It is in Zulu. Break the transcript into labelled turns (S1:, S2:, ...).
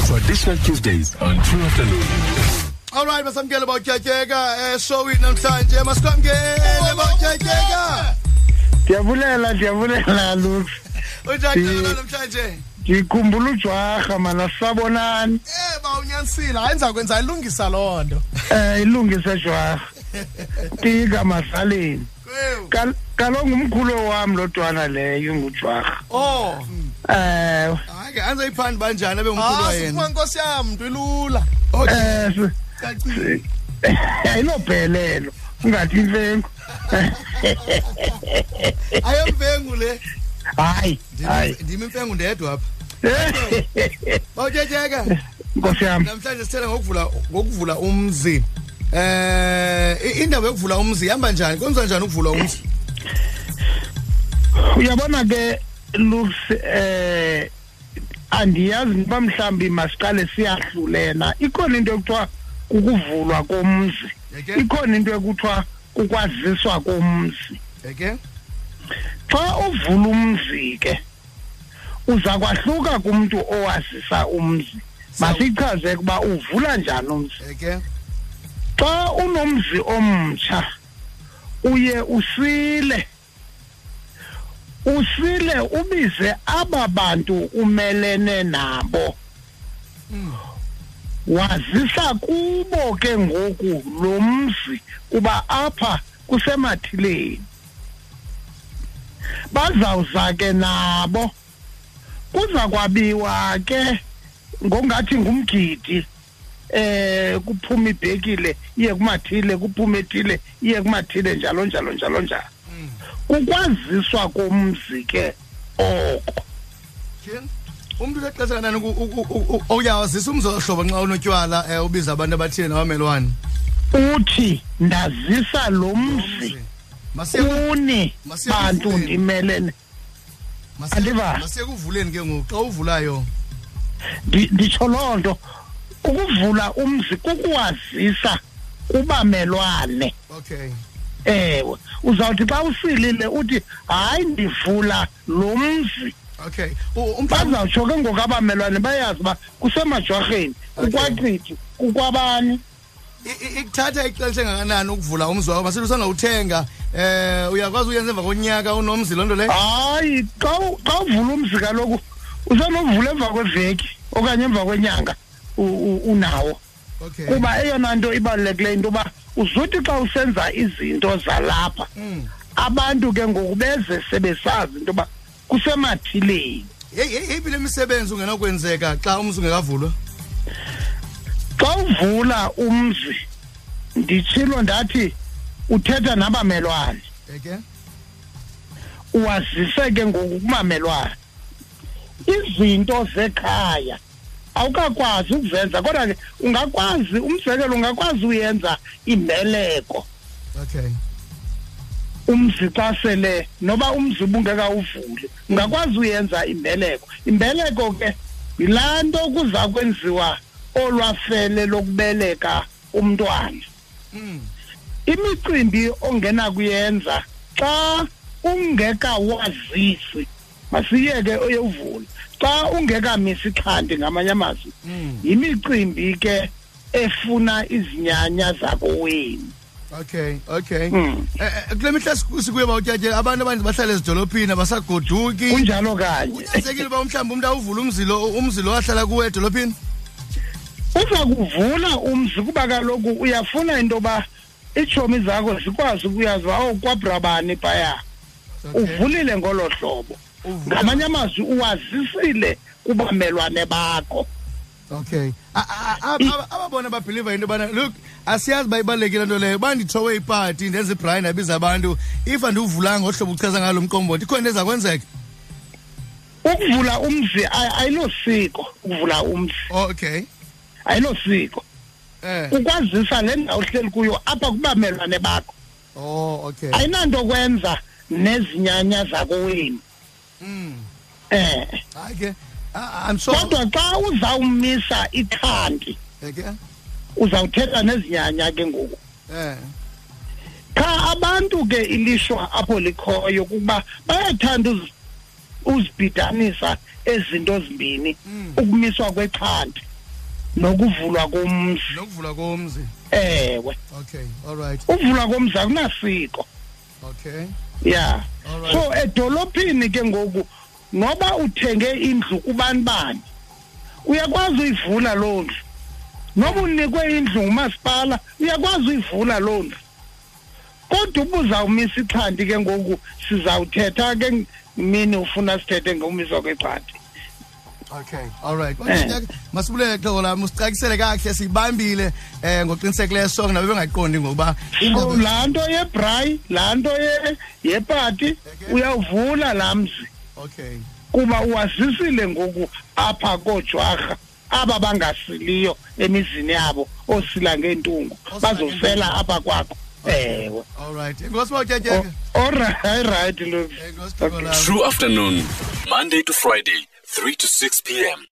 S1: Special Tuesdays on True Afternoon.
S2: Alright masamkele bawutyatyeka eh so with namhlanje masikwamkele bawutyatyeka.
S3: ndiyabulela ndiyabulela lux
S2: Utyatyeka namhlanje.
S3: ndikhumbula ujwarha mana sisabonani
S2: Eh bawunyanisile hayi ndiza kwenza ilungisa loo nto.
S3: um ilungise jwarha tika masaleni
S2: Kwewu.
S3: Kal- kaloku ngumkhulo wam lo ntwana leyo Eh, ngujwarha
S2: Oh.
S3: ewe
S2: Hayi ke anze iphandi banjani ebengumkhulu
S4: Ah,
S2: wayena.
S4: sikuma nkosi yam mntu ilula
S3: um ayinobhelelo ungathi imfengu
S2: Ayemfengu le.
S3: hayi hayi
S2: Ndimi imfengu ndedwa apha. Bawutyatyeka.
S3: nkosi yam
S2: Namhlanje sithetha ngokuvula ngokuvula umzi. Eh i- indaba yokuvula umzi ihamba njani? Kwenza njani ukuvula umzi?
S3: uyabona ke looks eh andiyazi uba mhlambi masiqale siyahlulena ikhona into ekuthiwa kukuvulwa komzi
S2: Yeke.
S3: ikhona into ekuthiwa kukwaziswa komzi
S2: Eke?
S3: xa uvula umzi ke uza kwahluka kumntu owazisa umzi masichaze kuba uvula njani umzi
S2: Eke?
S3: xa unomzi omtsha uye usile usile ubize aba bantu umelene nabo wazisa kubo ke ngoku lo mzi kuba apha kusemathileni bazawuza ke nabo kuza kwabiwa ke ngongathi ngumgidi eh kuphuma ibhekile iye kumathile kuphume ethile iye kumathile njalo njalo njalo njalo kukwaziswa komzi ke oko
S2: Ken, umntu lexesha kanani uyawazisa umzohlobo nxa unotywala um ubiza abantu abathile nabamelwane
S3: uthi ndazisa lo mzi
S2: Masiye-
S3: kuni
S2: masiye
S3: bantu
S2: kuvuleni.
S3: ndimelene
S2: masiye
S3: andiva.
S2: masiye kuvuleni ke ngoku xa uvulayo
S3: Ndi- nditsho loo nto ukuvula umzi kukuwazisa kubamelwane
S2: okay
S3: ewe uzawuthi xa usilile uthi hayi ndivula lo mzi
S2: okay U- umhla-
S3: bazawutsho ke ngoku abamelwane bayazi uba kusemajwarheni kukwacithi kukwabani
S2: i- i- ikuthatha ixesha engakanani ukuvula umzi wakho masithi usandawuthenga um uyakwazi uyenza emva konyaka unomzi loo nto
S3: Ah.
S2: leyo
S3: hayi xa u- xa uvula umzi kaloku usenovula emva kweveki okanye emva kwenyanga u- u- unawo
S2: okay
S3: kuba eyona nto ibalulekileyo into yoba uzuthi xa usenza izinto zalapha
S2: Mm.
S3: abantu ke ngoku beze sebesazi into yoba kusemathileni
S2: Yeyi- yeyi- yeyiphi le misebenzi ungenakwenzeka xa umzi ungekavulwa
S3: xa uvula umzi nditshilo ndathi uthetha nabamelwane
S2: eke
S3: uwazise ke ngokumamelwana izinto zekhaya awukakwazi ukuzenza kodwa ke ungakwazi umzekelo ungakwazi uyenza imbeleko
S2: okay
S3: umzi xa sele noba umzi ubungekawuvuli ungakwazi uyenza imbeleko imbeleko ke yilaa nto kuza kwenziwa olwafele lokubeleka umntwana
S2: Mm.
S3: imicimbi ongena kuyenza xa ungekawazisi masiyeke uyovula xa ungekamisi ichandi ngamanye amazwi
S2: Mm.
S3: yimicimbi ke efuna izinyanya zakowenu
S2: okay okay
S3: Mm.
S2: Eh, eh, kule mihla siku- sikuye bawutyatye abantu abaninzi bahlala ezidolophini abasagoduki
S3: kunjalo kanye
S2: kunyanzelekile uba mhlawumbi umntu awuvula umzilo umzilo ahlala kuwe edolophini
S3: uza kuvula umzi kuba kaloku uyafuna into yoba iitshomi zakho zikwazi ukuyazi uba owu kwabrabani phaya uvulile ngolo hlobo
S2: Uvula.
S3: ngamanye amazwi uwazisile kubamelwane bakho
S2: okay A- a- a- a- ababona babhiliva into yobana look asiyazi uba ibalulekile nto leyo uba ndithowe ipati ndenza ibrai ndabiza abantu if andiwuvulanga ohlobo uchaza ngalo mqombothi ikhona into eza kwenzeka
S3: ukuvula umzi ay- ayilosiko ukuvula umzi
S2: okay
S3: ayilosiko
S2: eh
S3: ukwazisa le ndawo uhleli kuyo apha kubamelwane bakho
S2: oh okay
S3: ayinanto kwenza nezinyanya zakowenu
S2: Mm.
S3: eh
S2: hayi ke Ah, ah, i'm sure
S3: kodwa xa uzawumisa ikhandi
S2: eke
S3: uzawuthetha nezinyanya ke ngoku
S2: eh
S3: qha abantu ke ilishwa apho likhoyo kukuba bayathanda uz- uzibhidanisa ezinto zimbini ukumiswa kwechandi nokuvulwa komzi
S2: nokuvula komzi
S3: ewe
S2: okay all right
S3: uvulwa komzi akunasiko
S2: okay
S3: ya
S2: all right
S3: so edolophini ke ngoku noba uthenge indlu kubani bani uyakwazi uyivula loo ndlu noba unikwe indlu ngumasipala uyakwazi uyivula loo ndlu kodwa uba uzawumisa ixhanti ke ngoku sizawuthetha ke mini ufuna sithethe ngomiswa kwexhanti
S2: okay all right
S3: Eh.
S2: masibulele xhoko lam usicakisele kakuhle siyibambile um ngoqinisekileyo sonke nabe bengayiqondi ngokuba
S3: so
S2: indaba-
S3: laa nto yebhrayi laa nto ye- yepati
S2: Okay.
S3: uyawuvula laa mzi
S2: okay
S3: kuba uwazisile ngoku apha koojwarha aba bangasiliyo emizini yabo oosila ngeentungu
S2: Oosila
S3: bazofela
S2: ngeentungu.
S3: apha kwakho ewe
S2: all right ingosi bawutyetyeke
S3: orayithi
S2: ingosi xhoko
S3: Oh. Okay.
S2: lam
S1: True Afternoon, Monday to Friday, 3 to 6 p.m.